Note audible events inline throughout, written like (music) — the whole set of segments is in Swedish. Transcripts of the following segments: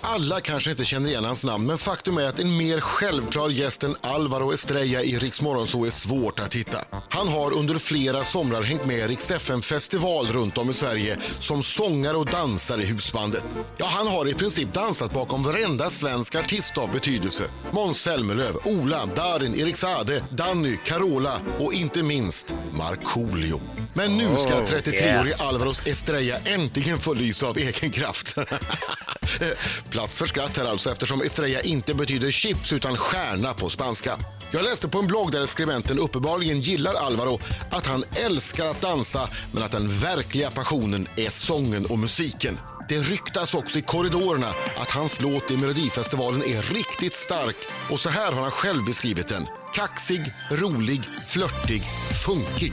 Alla kanske inte känner igen hans namn, men faktum är att en mer självklar gäst än Alvaro Estrella i Rix så är svårt att hitta. Han har under flera somrar hängt med Rix festival runt om i Sverige som sångare och dansare i husbandet. Ja, han har i princip dansat bakom varenda svensk artist av betydelse. Måns Zelmerlöw, Ola, Darin, Erik Saade, Danny, Carola och inte minst Markoolio. Men nu ska 33-årige Alvaros Estrella äntligen få lys av egen kraft. (laughs) Plats för skratt här alltså eftersom Estrella inte betyder chips utan stjärna på spanska. Jag läste på en blogg där skribenten uppenbarligen gillar Alvaro att han älskar att dansa men att den verkliga passionen är sången och musiken. Det ryktas också i korridorerna att hans låt i Melodifestivalen är riktigt stark och så här har han själv beskrivit den. Kaxig, rolig, flörtig, funkig.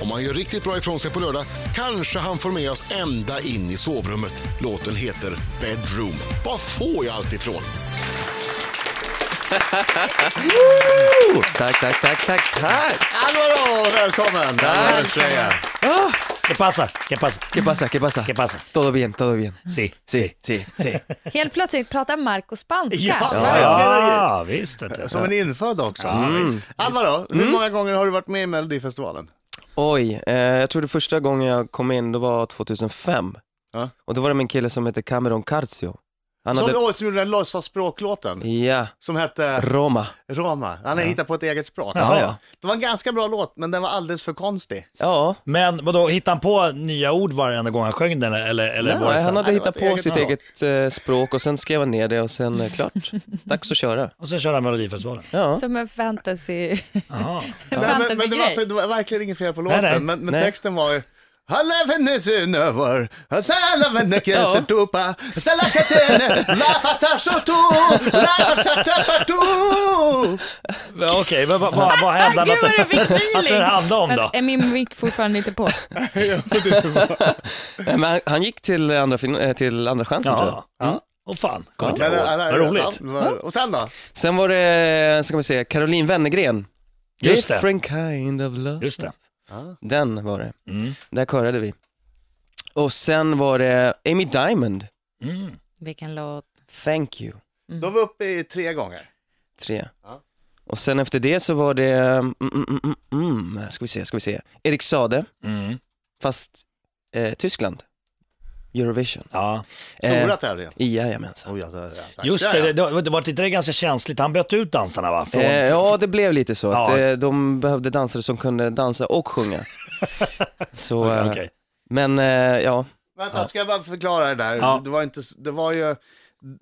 Om han gör riktigt bra ifrån sig på lördag kanske han får med oss ända in i sovrummet. Låten heter Bedroom. Vad får jag allt ifrån? Tack, tack, tack, tack, Ah! tack. Alvaro, välkommen! Tack! ¿Qué pasa? ¿Qué pasa? ¿Qué pasa? ¿Qué pasa? ¿Qué pasa? Todo bien, todo bien. Sí, Sí, sí, sí. Helt plötsligt pratar Marco spanska. Ja, verkligen! Ja, visst. Vet du. Som en infödd också. Mm. Alvaro, hur många gånger har du varit med i Melodifestivalen? Oj, eh, jag tror det första gången jag kom in, det var 2005. Ja. Och då var det min kille som hette Cameron Carzio. Han Som, hade... åh, som gjorde den låtsas språklåten Ja, som hette Roma. Rama. Han har hittat på ett eget språk. Ja, ja. Det var en ganska bra låt, men den var alldeles för konstig. Ja, Men vadå, hittade han på nya ord varenda gång han sjöng den eller, eller var det Nej, så? han hade Nej, det hittat var ett på eget sitt eget eh, språk och sen skrev han ner det och sen eh, (laughs) klart, dags att köra. Och sen körde han Melodifestivalen. Ja. Som en fantasy... Jaha. (laughs) en Nej, men, men det, var, fantasygrej. så, det var verkligen inget fel på låten, nej. men, men Nej. texten var ju I love in this universe, I love in the kiss and tupa, I love catene, la fatashotu, la fashatapatu. Men Okej, men vad, vad, vad hävdade han Ah, Gud vad du att, fick det- att feeling. det handlade om då? Är min mick fortfarande inte på? Nej, Men han, han gick till andra, fin- eh, till andra chansen tror jag. Ja. Mm. Åh fan, kommer inte Men, äh, jag ja, ihåg. ja, Vad roligt. ja, det var- Och sen då? Sen var det, eh, så kan man säga, Caroline Wennergren. Just det. Different kind of love. Just det. Den var det. Mm. Där körade vi. Och sen var det Amy Diamond, Mm. Vilken låt. Thank you, Då var vi uppe i tre gånger. tre. Ja. Och sen efter det så var det, mm, mm, mm, mm, ska vi se, ska vi se, Erik Sade, Mm. fast eh, Tyskland, Eurovision. Ja. Eh. Stora tävlingen. Jajamensan. Oh, ja, ja, ja, tack. Just Ja, det, ja. det, det, var- det var inte det ganska känsligt. Han bytte ut dansarna va? Från, Eh, ja, det blev lite så. Att, Ja. eh, de behövde dansare som kunde dansa (laughs) och sjunga. så, eh, Okej. Men eh, ja, Vänta, ska jag bara förklara det där? Ja. Det var inte, s- det var ju,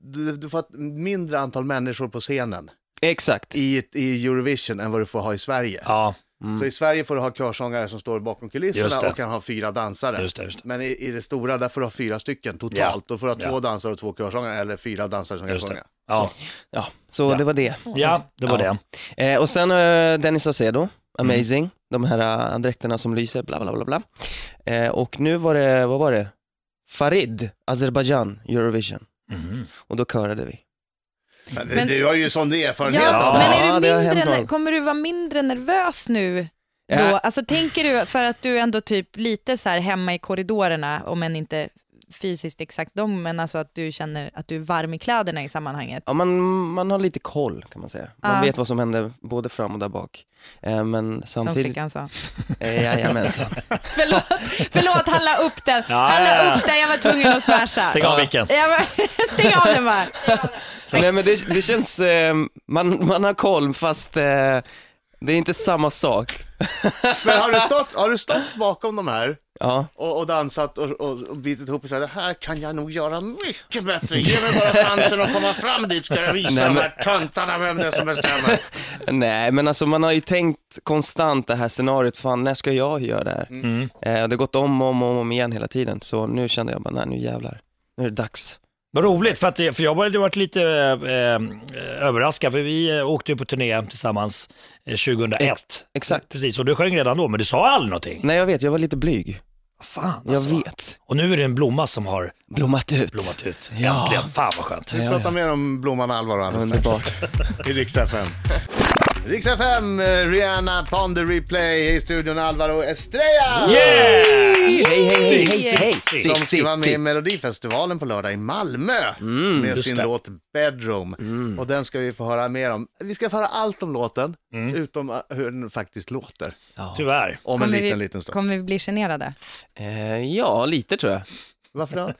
du, du får ett mindre antal människor på scenen exakt. i, i Eurovision än vad du får ha i Sverige. Ja, Mm. Så i Sverige får du ha körsångare som står bakom Just kulisserna det. och kan ha fyra dansare. just det, just det. Men i, i det stora, där får du ha fyra stycken totalt. Ja. Då får du ha två Ja. dansare och två körsångare, eller fyra dansare som kan Just det. sjunga. Ja, Ja, så det var det. ja det var Ja. det. Eh, och sen eh, Dennis Saucedo, amazing. De här eh, dräkterna som lyser, bla bla bla bla. Eh, och nu var det, vad var det? Farid, Azerbaijan, Eurovision. Mhm. Och då körade vi. Men, Men- du har ju sån erfarenhet Ja, av det. men Ja, är det du har hänt mindre, någon. kommer du vara mindre nervös nu? Då? Ja. Alltså, tänker du, för att du ändå typ lite så här hemma i korridorerna, om än inte fysiskt exakt dem, men alltså att du känner att du är varm i kläderna i sammanhanget. Ja, man, man har lite koll kan man säga. Man Ja. vet vad som händer både fram och där bak. Eh, men som samtidigt... flickan sa. Eh, (laughs) jajamensan. Förlåt, förlåt han la upp den. Ja, han la ja, ja. upp den, jag var tvungen att smasha. Stäng av micken. Ja, men, (laughs) stäng av den bara. Nej men det, det känns, eh, man, man har koll fast eh, det är inte samma sak. Men har du stått, har du stått bakom de här Ja, och, och dansat och, och, och bitit ihop och sagt det här kan jag nog göra mycket bättre. Ge mig bara chansen att komma fram dit ska jag visa Nej, de men- här töntarna vem det är som bestämmer. nej men alltså man har ju tänkt konstant det här scenariot, fan när ska jag göra det här? Mm. Eh, och det har gått om och om, och om igen hela tiden, så nu kände jag bara, nej nu jävlar, nu är det dags. Vad roligt, för, att, för jag hade varit lite eh, eh, överraskad, för vi eh, åkte ju på turné tillsammans eh, 2001. Exakt. Precis, och du sjöng redan då, men du sa aldrig någonting. Nej jag vet, jag var lite blyg. Vad Fan Jag alltså. vet. Och nu är det en blomma som har Blommat ut. blommat ut. Ja. Äntligen, fan vad skönt. Vi pratar mer om blomman Alvaro alldeles strax. Underbart. I Rix FM. Rix FM, eh, Rihanna, Ponder Replay i studion Alvaro Estrella! Yeah! Hej, hej, hej, hej, Si, hej, si. si, Som ska si, vara med si. i Melodifestivalen på lördag i Malmö Mm, med just sin det. låt Bedroom. Och den ska vi få höra mer om. Vi ska få höra allt om låten, utom eh, hur den faktiskt låter. Tyvärr. Om en Kommer liten, vi, liten stund. Kommer vi bli generade? Eh, Ja, lite tror jag. Varför då?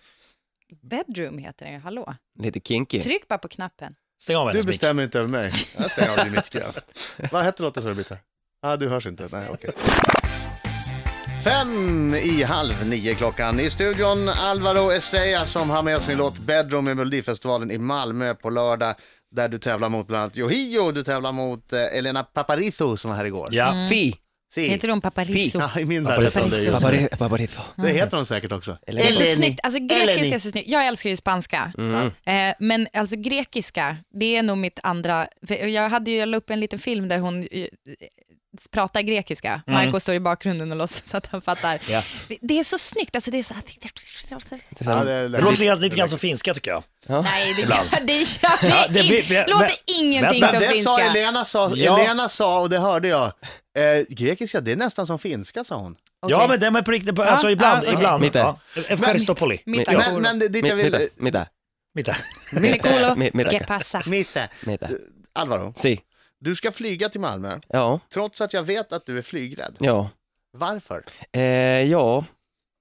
Bedroom heter den ju, hallå. Lite kinky. Tryck bara på knappen. Stäng av Du hennes mick. bestämmer inte över mig. (laughs) Jag stänger av din mick. ja. (laughs) Vad hette låten sa du Britta? ah, du hörs inte. Nej, okej. Fem i halv nio klockan. I studion Alvaro Estrella som har med sin låt Bedroom i Melodifestivalen i Malmö på lördag. Där du tävlar mot bland annat Yohio, du tävlar mot eh, Elena Paparizou som var här igår. Ja. Fi. Si. Heter hon Paparizou? Ja, i min värld heter hon det just nu. Papari- (laughs) Paparizzo. Det heter hon säkert också. Eller- Det är så Eleni. snyggt. Alltså Eleni. grekiska är så snyggt. Jag älskar ju spanska. Eh, men alltså grekiska, det är nog mitt andra... för Jag, hade ju, jag la upp en liten film där hon eh, pratar grekiska. Marco står i bakgrunden och låtsas att han fattar. Ja. Det, det är så snyggt. Alltså det är så här... Det är Ja, sån- det är Det låter lite, lite grann som finska tycker jag. Nej, det gör det, gör det, Ja, det in- blir- det- låter men- ingenting men- som det sa finska. Elena, sa, Ja. Elena sa, och det hörde jag. Eh, grekiska, det är nästan som finska sa hon. Ja, Okej. men det är på riktigt. på- Alltså Ja, ibland. ja, ibland. Mitt där. Ja. FK Aristopoli. Mitt Ja. Men, men, men dit jag Mi- Middag, vill... middag, Mitt där. Mitt culo, mi- middag. que pasa? Mitte. middag. Eh. Alvaro, Si. du ska flyga till Malmö, Ja, trots att jag vet att du är flygrädd. ja. Varför? Eh, ja,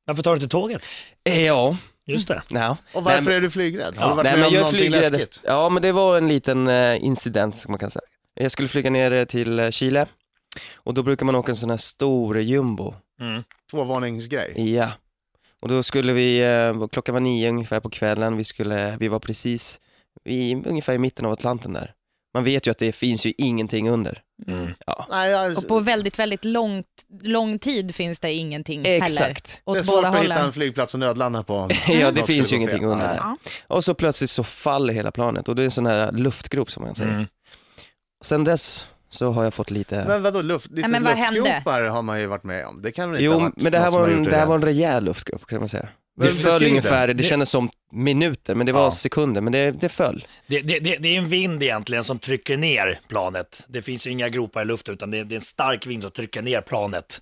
Varför tar du inte tåget? eh, ja, Just det. nja. Och Nej, varför men- är du flygrädd? Har du varit Nej, med men om jag är någonting flygrädd. läskigt? Ja, men det var en liten eh, incident som man kan säga. Jag skulle flyga ner eh, till eh, Chile och då brukar man åka en sån här stor jumbo. Tvåvåningsgrej. Ja. Och då skulle vi, eh, klockan var nio ungefär på kvällen, vi, skulle, vi var precis i, ungefär i mitten av Atlanten där. Man vet ju att det finns ju ingenting under. Nej, jag, Och på väldigt, väldigt långt, lång tid finns det ingenting heller. Exakt. (laughs) Åt det är svårt båda att hitta hållen. en flygplats att nödlanda på. om Ja, något det skulle finns ju gå fel. ingenting under. Nej. där. Och så plötsligt så faller hela planet och det är en sån här luftgrop som man säger. Mm. Sen dess så har jag fått lite... Men vadå, luft, lite men vad hände? luftgropar har man ju varit med om. Det kan väl inte ha Jo, varit men det här, något som var har en, gjort dig det här rädd? var en rejäl luftgrupp kan man säga. Men Det föll beskriv ungefär, det, Det- kändes som minuter, men det var Ja. sekunder, men det, det föll. Det, det, det, det är en vind egentligen som trycker ner planet. Det finns ju inga gropar i luften utan det, det är en stark vind som trycker ner planet.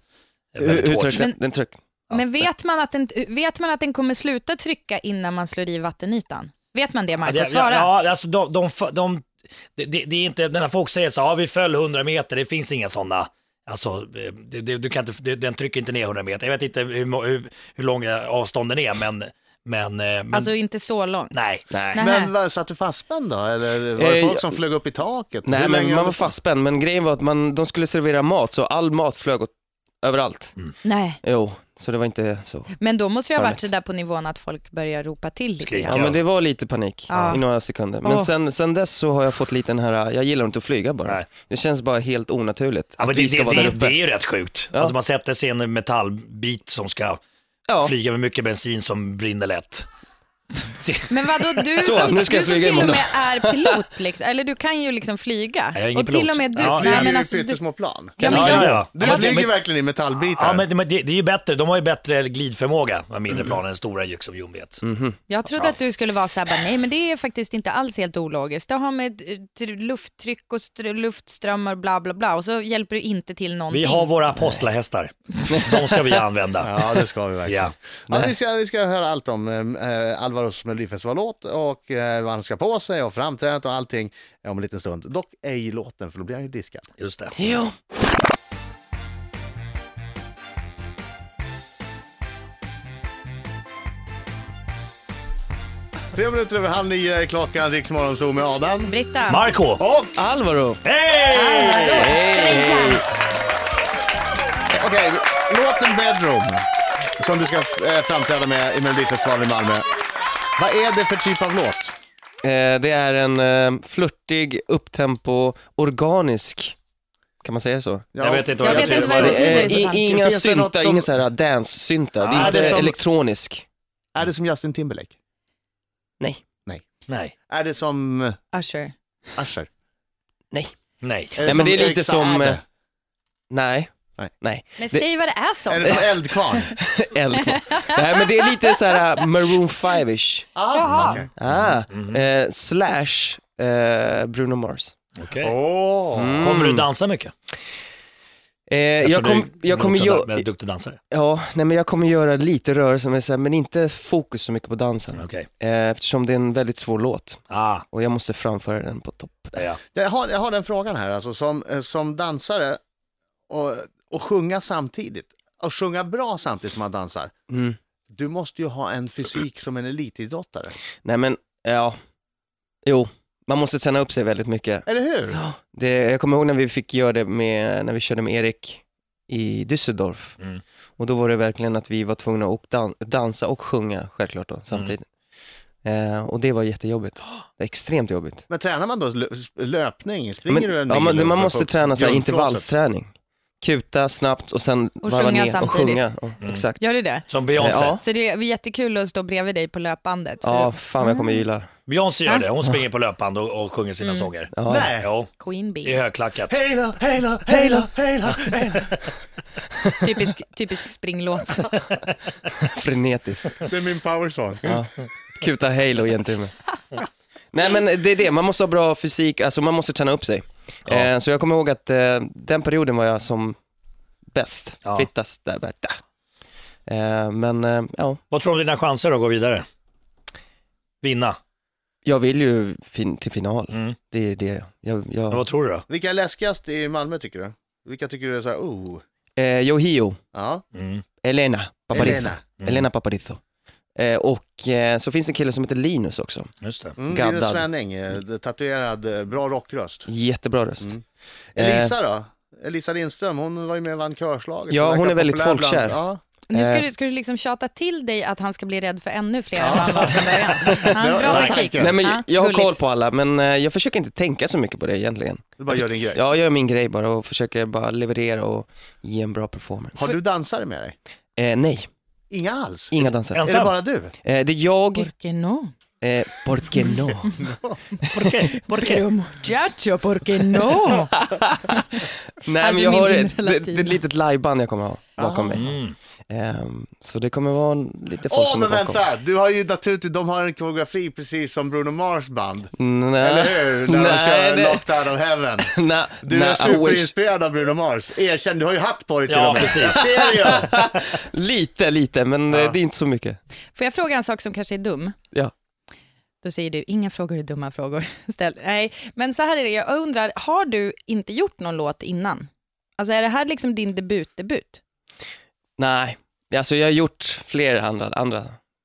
eh, Hur, Väldigt hur hårt. tryck, den, den tryck. Men vet man, att den, vet man att den kommer sluta trycka innan man slår i vattenytan? Vet man det, Ja, Marco? det, Svara. ja, ja, alltså de, de, de, det- det, det är inte, när folk säger så, ja vi föll 100 meter, det finns inga sådana. Alltså, eh, det, det, du kan inte, det, den trycker inte ner 100 meter. Jag vet inte hur, må- hur, hur långa avstånden är, men... men, eh, men Alltså inte så långt. nej. Nej. Nej. Men vad, satt du fastspänd då? Eller var det Eh, folk som flög upp i taket? Nej, Hur länge men höll man du var på? fastspänd, men grejen var att man, de skulle servera mat, så all mat flög åt, överallt. Mm. Nej. Jo, så det var inte så. Men då måste jag ha varit Farligt. så där på nivån att folk börjar ropa till lite Skrika. grann. Ja, men det var lite panik Ja. i några sekunder. Men Åh. sen, sen dess så har jag fått lite den här, jag gillar inte att flyga bara. Nej. Det känns bara helt onaturligt Ja, att men det, vi ska det, vara det, där det uppe. är ju rätt sjukt. Ja. Att man sätter sig i en metallbit som ska ja. flyga med mycket bensin som brinner lätt. Men vadå, du Så, som, nu ska jag du som flyga till och imorgon. med är pilot, liksom, eller du kan ju liksom flyga. Nej, jag är ingen och till pilot. och med du, Ja, nej, jag är men ju alltså, du, pyttesmå plan. Ja, men Ja, jag- ja, ja. Du Ja, flyger men- verkligen i metallbitar. Ja, men, men det, det är ju bättre. De har ju bättre glidförmåga, de mindre planen, än stora ju som Ljung vet. Jag trodde att du skulle vara så här, bara, nej men det är faktiskt inte alls helt ologiskt. Det har med eh, tr- lufttryck och str- luftströmmar bla bla bla och så hjälper du inte till någonting. Vi har våra apostlahästar. De ska vi använda. (laughs) Ja, det ska vi verkligen. Ja. Ja, vi, ska, vi ska höra allt om eh, Alvaros Melodifestivallåt och eh, vad han ska på sig och framträdandet och allting om en liten stund. Dock ej låten, för då blir han ju diskad. Just det. Jo. Tre minuter över halv nio är klockan, Riks Morgonzoo med Adam. Britta, Marco! Och Alvaro! Hej! okej, låten Bedroom som du ska eh, framträda med i Melodifestivalen i Malmö. Vad är det för typ av låt? Eh, det är en eh, flörtig, upptempo, organisk, kan man säga så? Ja, Jag vet inte Jag vad vet inte vad det det är. betyder i i- så fall. inga Finns det något syntar, som- inga så här äh, dance-syntar, det Ah, är inte det är som- elektronisk. Är det som Justin Timberlake? Nej. Nej, Är det som eh, Usher. Usher? Nej. nej. Är Nej, men som det är Erik lite som... Saade? eh, Nej. Nej. Nej. Men Det- säg vad det är eh, som. Är det som (laughs) Eldkvarn? LK. Nej, men det är lite så här eh, Maroon 5-ish. Ah, okej. Ah, eh, slash eh, Bruno Mars. Okej. Åh! Mm. Kommer du dansa mycket? Eh, jag, Eftersom kom, jag, kommer du är också gö- väldigt duktig dansare. ja, nej, men jag kommer göra lite rörelser men, så här, men inte fokus så mycket på dansen. Mm, Okej. Eh, eftersom det är en väldigt svår låt Ah, och jag måste framföra den på topp. ja, ja. Jag har, jag har den frågan här, alltså, som, eh, som dansare och, och sjunga samtidigt, och sjunga bra samtidigt som man dansar. Mm. Du måste ju ha en fysik som en elitidrottare, Nej men, ja. Jo, man måste träna upp sig väldigt mycket. eller hur? Det, jag kommer ihåg när vi fick göra det med, när vi körde med Erik i Düsseldorf. Mm. Och då var det verkligen att vi var tvungna att dan- dansa och sjunga självklart då, samtidigt. Eh, och det var jättejobbigt. Det var extremt jobbigt. Men tränar man då lö- löpning? Springer Men, du en ja, mil man, man för- måste för- träna så här, grundflåset? intervallsträning. Kuta snabbt och sen Och varva sjunga ner och samtidigt. sjunga. Och, Exakt. Gör du det? Som Beyoncé. Ja. Så det är jättekul att stå bredvid dig på löpbandet. för Ja, att- fan vad jag Mm. kommer gilla. Beyoncé gör det, hon springer på löpband och, och sjunger sina sånger. Ja. Nej. Jo, Queen i Bee. högklackat. Hela, hela, hela, hela. Typisk, typisk springlåt. Frenetiskt. Det är min powersong. Ja. Kuta Halo i en timme. Nej men det är det, man måste ha bra fysik, alltså man måste träna upp sig. Ja. Eh, så jag kommer ihåg att eh, den perioden var jag som bäst, Ja. fittast där. bara, da. Eh, men eh, ja, Vad tror du om dina chanser att gå vidare? Vinna? jag vill ju fin- till final. Mm. Det är det. Men Jag, jag, Vad tror du då? Vilka är läskigast i Malmö tycker du? Vilka tycker du är så här, oh, eh, Yohio, ja, Mm. Elena Paparizou. Elena, Elena. Mm. Paparizou. Eh, och eh, så finns det en kille som heter Linus också. Just det. Mm, Linus Gaddad. Svenning, eh, tatuerad, eh, bra rockröst. Jättebra röst. Mm. Eh, Elisa då? Elisa Lindström, hon var ju med och vann körslaget. Ja, verkar hon är väldigt populär bland- folkkär. Ja. Nu ska Eh. du, ska du liksom tjata till dig att han ska bli rädd för ännu fler än vad han var från början. Ja, Ja, det var bra taktik. tanken. Eh, Nej, men Ja, jag har koll gulligt. på alla, men eh, jag försöker inte tänka så mycket på det egentligen. Du bara gör din grej. Jag gör min grej bara och försöker bara leverera och ge en bra performance. Har du dansare med dig? Eh, nej, Inga alls? inga dansare. Är det Ensam? bara du? Eh, det är jag, Porque no? eh, porque (laughs) no. Okej. Porque no muchacho, porque no? Nej Alltså, men jag min har inre ett, det, det är ett latin. litet liveband jag kommer ha bakom mig. Mm. Ehm, så det kommer vara en- lite folk Åh, som är men bakom. vänta! Du har ju naturligtvis, de har en koreografi precis som Bruno Mars band. Nej. Eller hur? När de Nej, kör det- Locked Out of Heaven. (laughs) Nej, Du nej, är I wish. superinspirerad av Bruno Mars. Erkänn, du har ju hatt på dig till Ja, och med. precis. (laughs) Ser jag. Lite, lite, men eh, det är inte så mycket. Får jag fråga en sak som kanske är dum? Ja. Då säger du, inga frågor är dumma frågor. (laughs) Ställ. Nej, men så här är det, jag undrar, har du inte gjort någon låt innan? Alltså är det här liksom din debut-debut? Nej, alltså jag har gjort fler andra, andra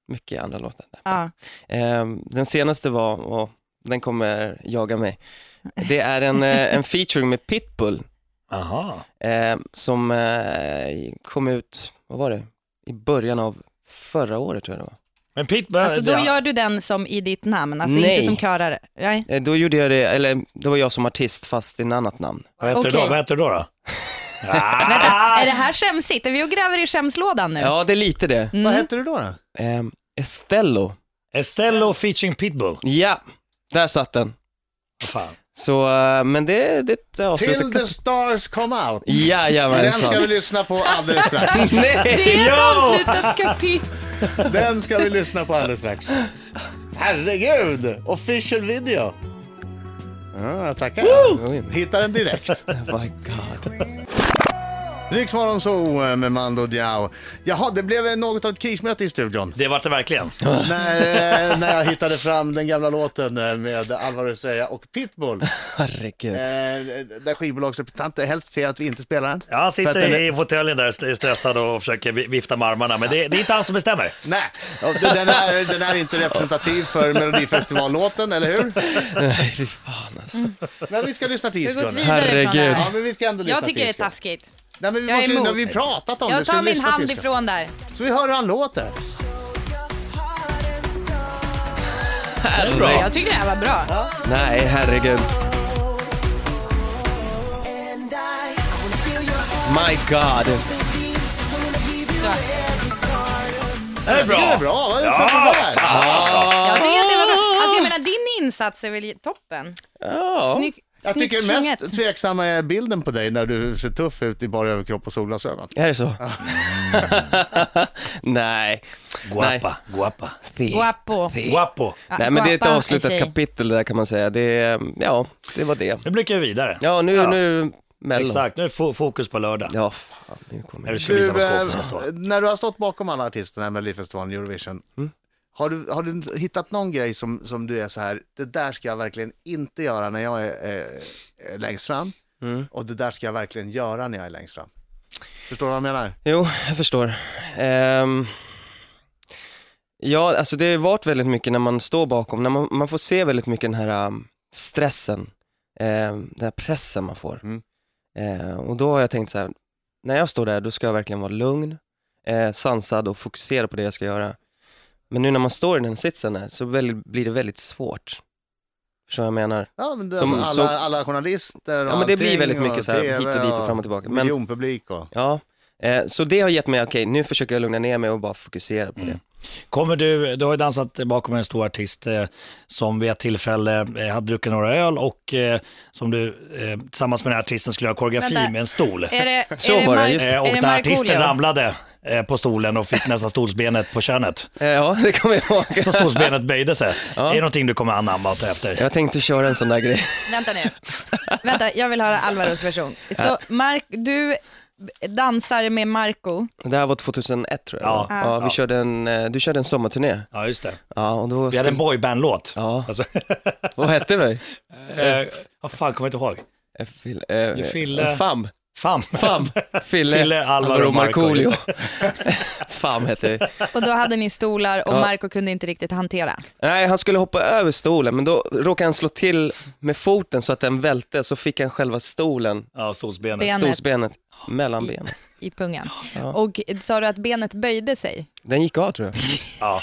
mycket andra låtar. Ja. Ehm, Den senaste var, och den kommer jaga mig, det är en, eh, en featuring med Pitbull Aha. eh, som eh, kom ut, vad var det, i början av förra året tror jag det var. Men Pitbull, Alltså då ja. gör du den som i ditt namn, alltså Nej. inte som körare? Nej. Eh, Då gjorde jag det, eller det var jag som artist fast i en annat namn. vad heter du då? Okej. Vad heter du då? då? Vänta, Ah! är det här skämsigt? Är vi och gräver i skämslådan nu? Mm. Ja, det är lite det. Vad heter du då? då? Ehm, Estello, Estello featuring Pitbull. ja, där satt den. Vad Fan. Så, eh, men det, det Till avslutar... the stars come out. Den ska vi Jajamensan. lyssna på alldeles strax. Nej! Ett Ja! avslutat kapitel. Den ska vi lyssna på alldeles strax. Herregud! Official video. Ja, jag tackar. Oj, Hittar den direkt. Oh my god. Riksmorgon så med Mando Diao. Jaha, det blev något av ett krismöte (laughs) i studion Det vart det verkligen. när, eh, när jag hittade fram den gamla låten eh, med Alvaro Estrella och Pitbull. Eh, Herregud. där skivbolagsrepresentanter helst ser att vi inte spelar den. Ja, han För att sitter den i är- fåtöljen där st- stressad och försöker vi- vifta med armarna, men det, det är inte han som bestämmer. Nej, och den är, den är inte representativ för Melodifestivallåten, eller hur? Nej, fy fan alltså. Men vi ska lyssna till Vi har gått Iskunde. vidare från det Herregud. Ja, här. men vi ska ändå lyssna Jag tycker till det är Iskunde. taskigt. Nej, men vi Jag är måste, ju- emot. när vi pratat om det. Jag Ska tar vi min lyssna hand till Iskra? ifrån där. Så vi hör hur han låter. Herregud. Jag tycker det här var bra. Nej, herregud. My god. Det är Det är bra. Vad är det för Ja, det fan där? alltså. Jag tycker att det var bra. Alltså jag menar din insats är väl toppen. Ja. Snygg. Jag Snyggt tycker mest sjunget. tveksamma är bilden på dig när du ser tuff ut i bara överkropp och solglasögon. Är det så? (laughs) Nej. Guapa, guapa, Guapo. guapo. Ja, Nej men det är ett guapa, avslutat en tjej. kapitel där kan man säga. Det, ja, det var det. Nu blickar vi vidare. Ja, nu, nu, Mellon. Exakt, nu är fo- fokus på lördag. Ja, fan, nu kommer Eller jag. ska vi visa vad eh, skåpet ska stå. när du har stått bakom alla artisterna i Melodifestivalen och Eurovision, Mm. har, du, har du hittat någon grej som, som du är så här, det där ska jag verkligen inte göra när jag är eh, längst fram Mm. och det där ska jag verkligen göra när jag är längst fram? Förstår du vad jag menar? Jo, jag förstår. Ehm, ja, alltså det har varit väldigt mycket när man står bakom, när man, man får se väldigt mycket den här um, stressen, ehm, den här pressen man får. Mm. Ehm, och då har jag tänkt så här, när jag står där då ska jag verkligen vara lugn, eh, sansad och fokusera på det jag ska göra. Men nu när man står i den sitsen här, så väl, blir det väldigt svårt. Förstår vad jag menar? Ja, men det, Som- alltså, alla, alla journalister och Ja men det blir allting väldigt och mycket så här, TV hit och dit och fram och tillbaka. Men, Miljonpublik och... Ja, eh, så det har gett mig, okej nu försöker jag lugna ner mig och bara fokusera på det. Kommer du, du har ju dansat bakom en stor artist eh, som vid ett tillfälle eh, hade druckit några öl och eh, som du eh, tillsammans med den här artisten skulle göra koreografi Vänta. med en stol. Är det, Så är det var det, Mar- just det. Eh, och är det när artisten Markoolio? ramlade eh, på stolen och fick nästan stolsbenet på könet. Eh, ja, det kommer jag ihåg. Så stolsbenet böjde sig. Ja. Är det någonting du kommer anamma och ta efter? Jag tänkte köra en sån där grej. Vänta nu. Vänta, jag vill höra Alvaros version. Så Mark, du dansar med Marco. Det här var 2001 tror jag. Ja. Ja, vi Ja. körde en, eh, du körde en sommarturné. Ja, just det. Ja, och då Vi hade en skulle, boybandlåt. Ja. Alltså, (laughs) vad hette vi? eh, vad fan, kommer jag inte ihåg. Eh, Fil, eh, Fille- Fam. Fan. (laughs) Fam. Fille, Fille, Alvaro, Marco, Markoolio. (laughs) Fam hette vi. Och då hade ni stolar och Ja. Marco kunde inte riktigt hantera. Nej, han skulle hoppa över stolen, men då råkade han slå till med foten så att den välte, så fick han själva stolen, Ja, stolsbenet. Ben- Benet. stolsbenet, mellan benen. i pungen. Och sa du att benet böjde sig? Den gick av tror jag. Ja.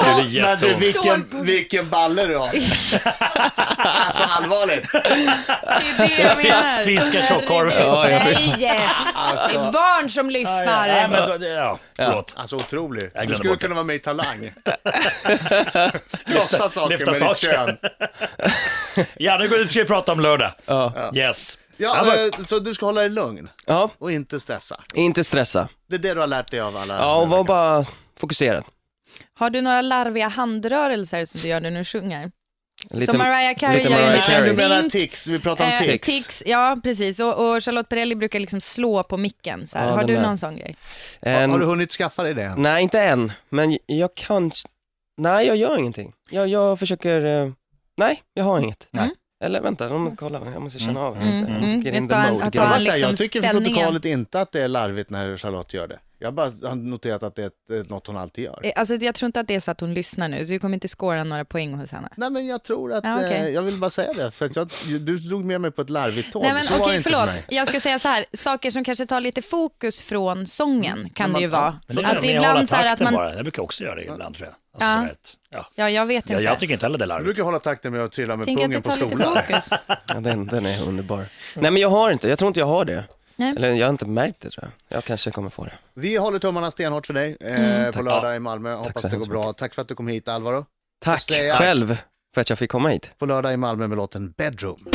Så det är jätteont. du, vilken, vilken balle du har! (laughs) alltså allvarligt! Det är det jag menar. Fiskar tjockkorv. Ja, ja. Det är Alltså, barn som lyssnar. Nej, men, då- det- ja, förlåt. alltså otrolig. glömde Du skulle bort det. kunna vara med (laughs) i Talang. Krossa saker lyfta med ditt saker. kön. Ja, nu går vi ska vi prata om lördag. Ja. Yes. Ja, eh, så du ska hålla dig lugn ja, och inte stressa. inte stressa. Det är det du har lärt dig av alla. Ja, och var bara fokuserad. Har du några larviga handrörelser som du gör när du sjunger? Lite, Som Mariah Carey lite gör ju Mariah när- Nej, Carey. du menar Vink. tics. Vi pratar om Eh, tics. tics. ja precis. Och, och Charlotte Perrelli brukar liksom slå på micken. Så här. Ja, Har den du där. någon sån grej? En- Har du hunnit skaffa dig det än? Nej, inte än, men jag kan... Nej, jag gör ingenting. Jag, jag försöker... eh, Nej, jag har inget. Nej. Eller vänta, jag måste kolla, jag måste känna av här Mm, lite. Jag mm, måste mm. get Jag in tar the en- mode. jag tar en- grann. jag, säger, liksom jag tycker för ställningen. protokollet inte att det är larvigt när Charlotte gör det. Jag bara har noterat att det är ett- ett- något hon alltid gör. Eh, Alltså, jag tror inte att det är så att hon lyssnar nu, så du kommer inte skåra några poäng hos henne. Nej men jag tror att, Ja, okej. eh, jag vill bara säga det, för att jag, du drog med mig på ett larvigt tåg. Nej men så var okej, det inte för förlåt. mig. Jag ska säga så här, saker som kanske tar lite fokus från sången kan det ju vara. Men det är att det det är ibland ibland så här att man, Bara. Jag brukar också göra det ibland tror jag. Alltså, Ja. så här att- ja. ja jag vet inte. Jag, jag tycker inte heller det är Jag larvigt. brukar hålla takten med att trilla med Tänk att det pungen på tar lite stolar. fokus. Ja, den, den är underbar. Nej, men jag har inte, jag tror inte jag har det. Mm. Nej. Eller jag har inte märkt det tror jag. Jag kanske kommer få det. Vi håller tummarna stenhårt för dig eh, Mm. på lördag i Malmö. Hoppas så det går hemskt bra. Tack för att du kom hit Alvaro. Tack säger jag. själv för att jag fick komma hit. På lördag i Malmö med låten Bedroom.